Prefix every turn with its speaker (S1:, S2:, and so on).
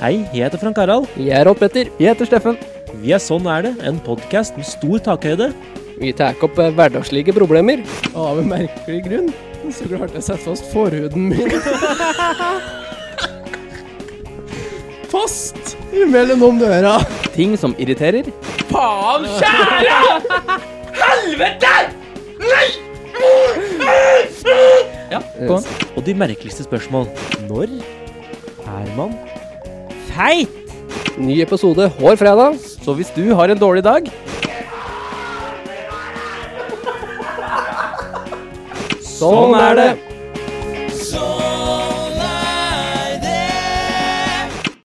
S1: Hei, jeg heter Frank Harald.
S2: Jeg er opp etter.
S3: Jeg heter Steffen.
S1: Vi er Sånn er det, en podkast med stor takhøyde.
S2: Vi tar opp eh, hverdagslige problemer.
S3: Og av en merkelig grunn så klarte jeg å sette fast forhuden min. fast mellom de øra.
S2: Ting som irriterer.
S3: Faen!
S2: Ja, eh, på.
S1: Og de merkeligste spørsmål. Når er man feit?
S2: Ny episode hver fredag.
S3: Så hvis du har en dårlig dag
S2: Sånn er det.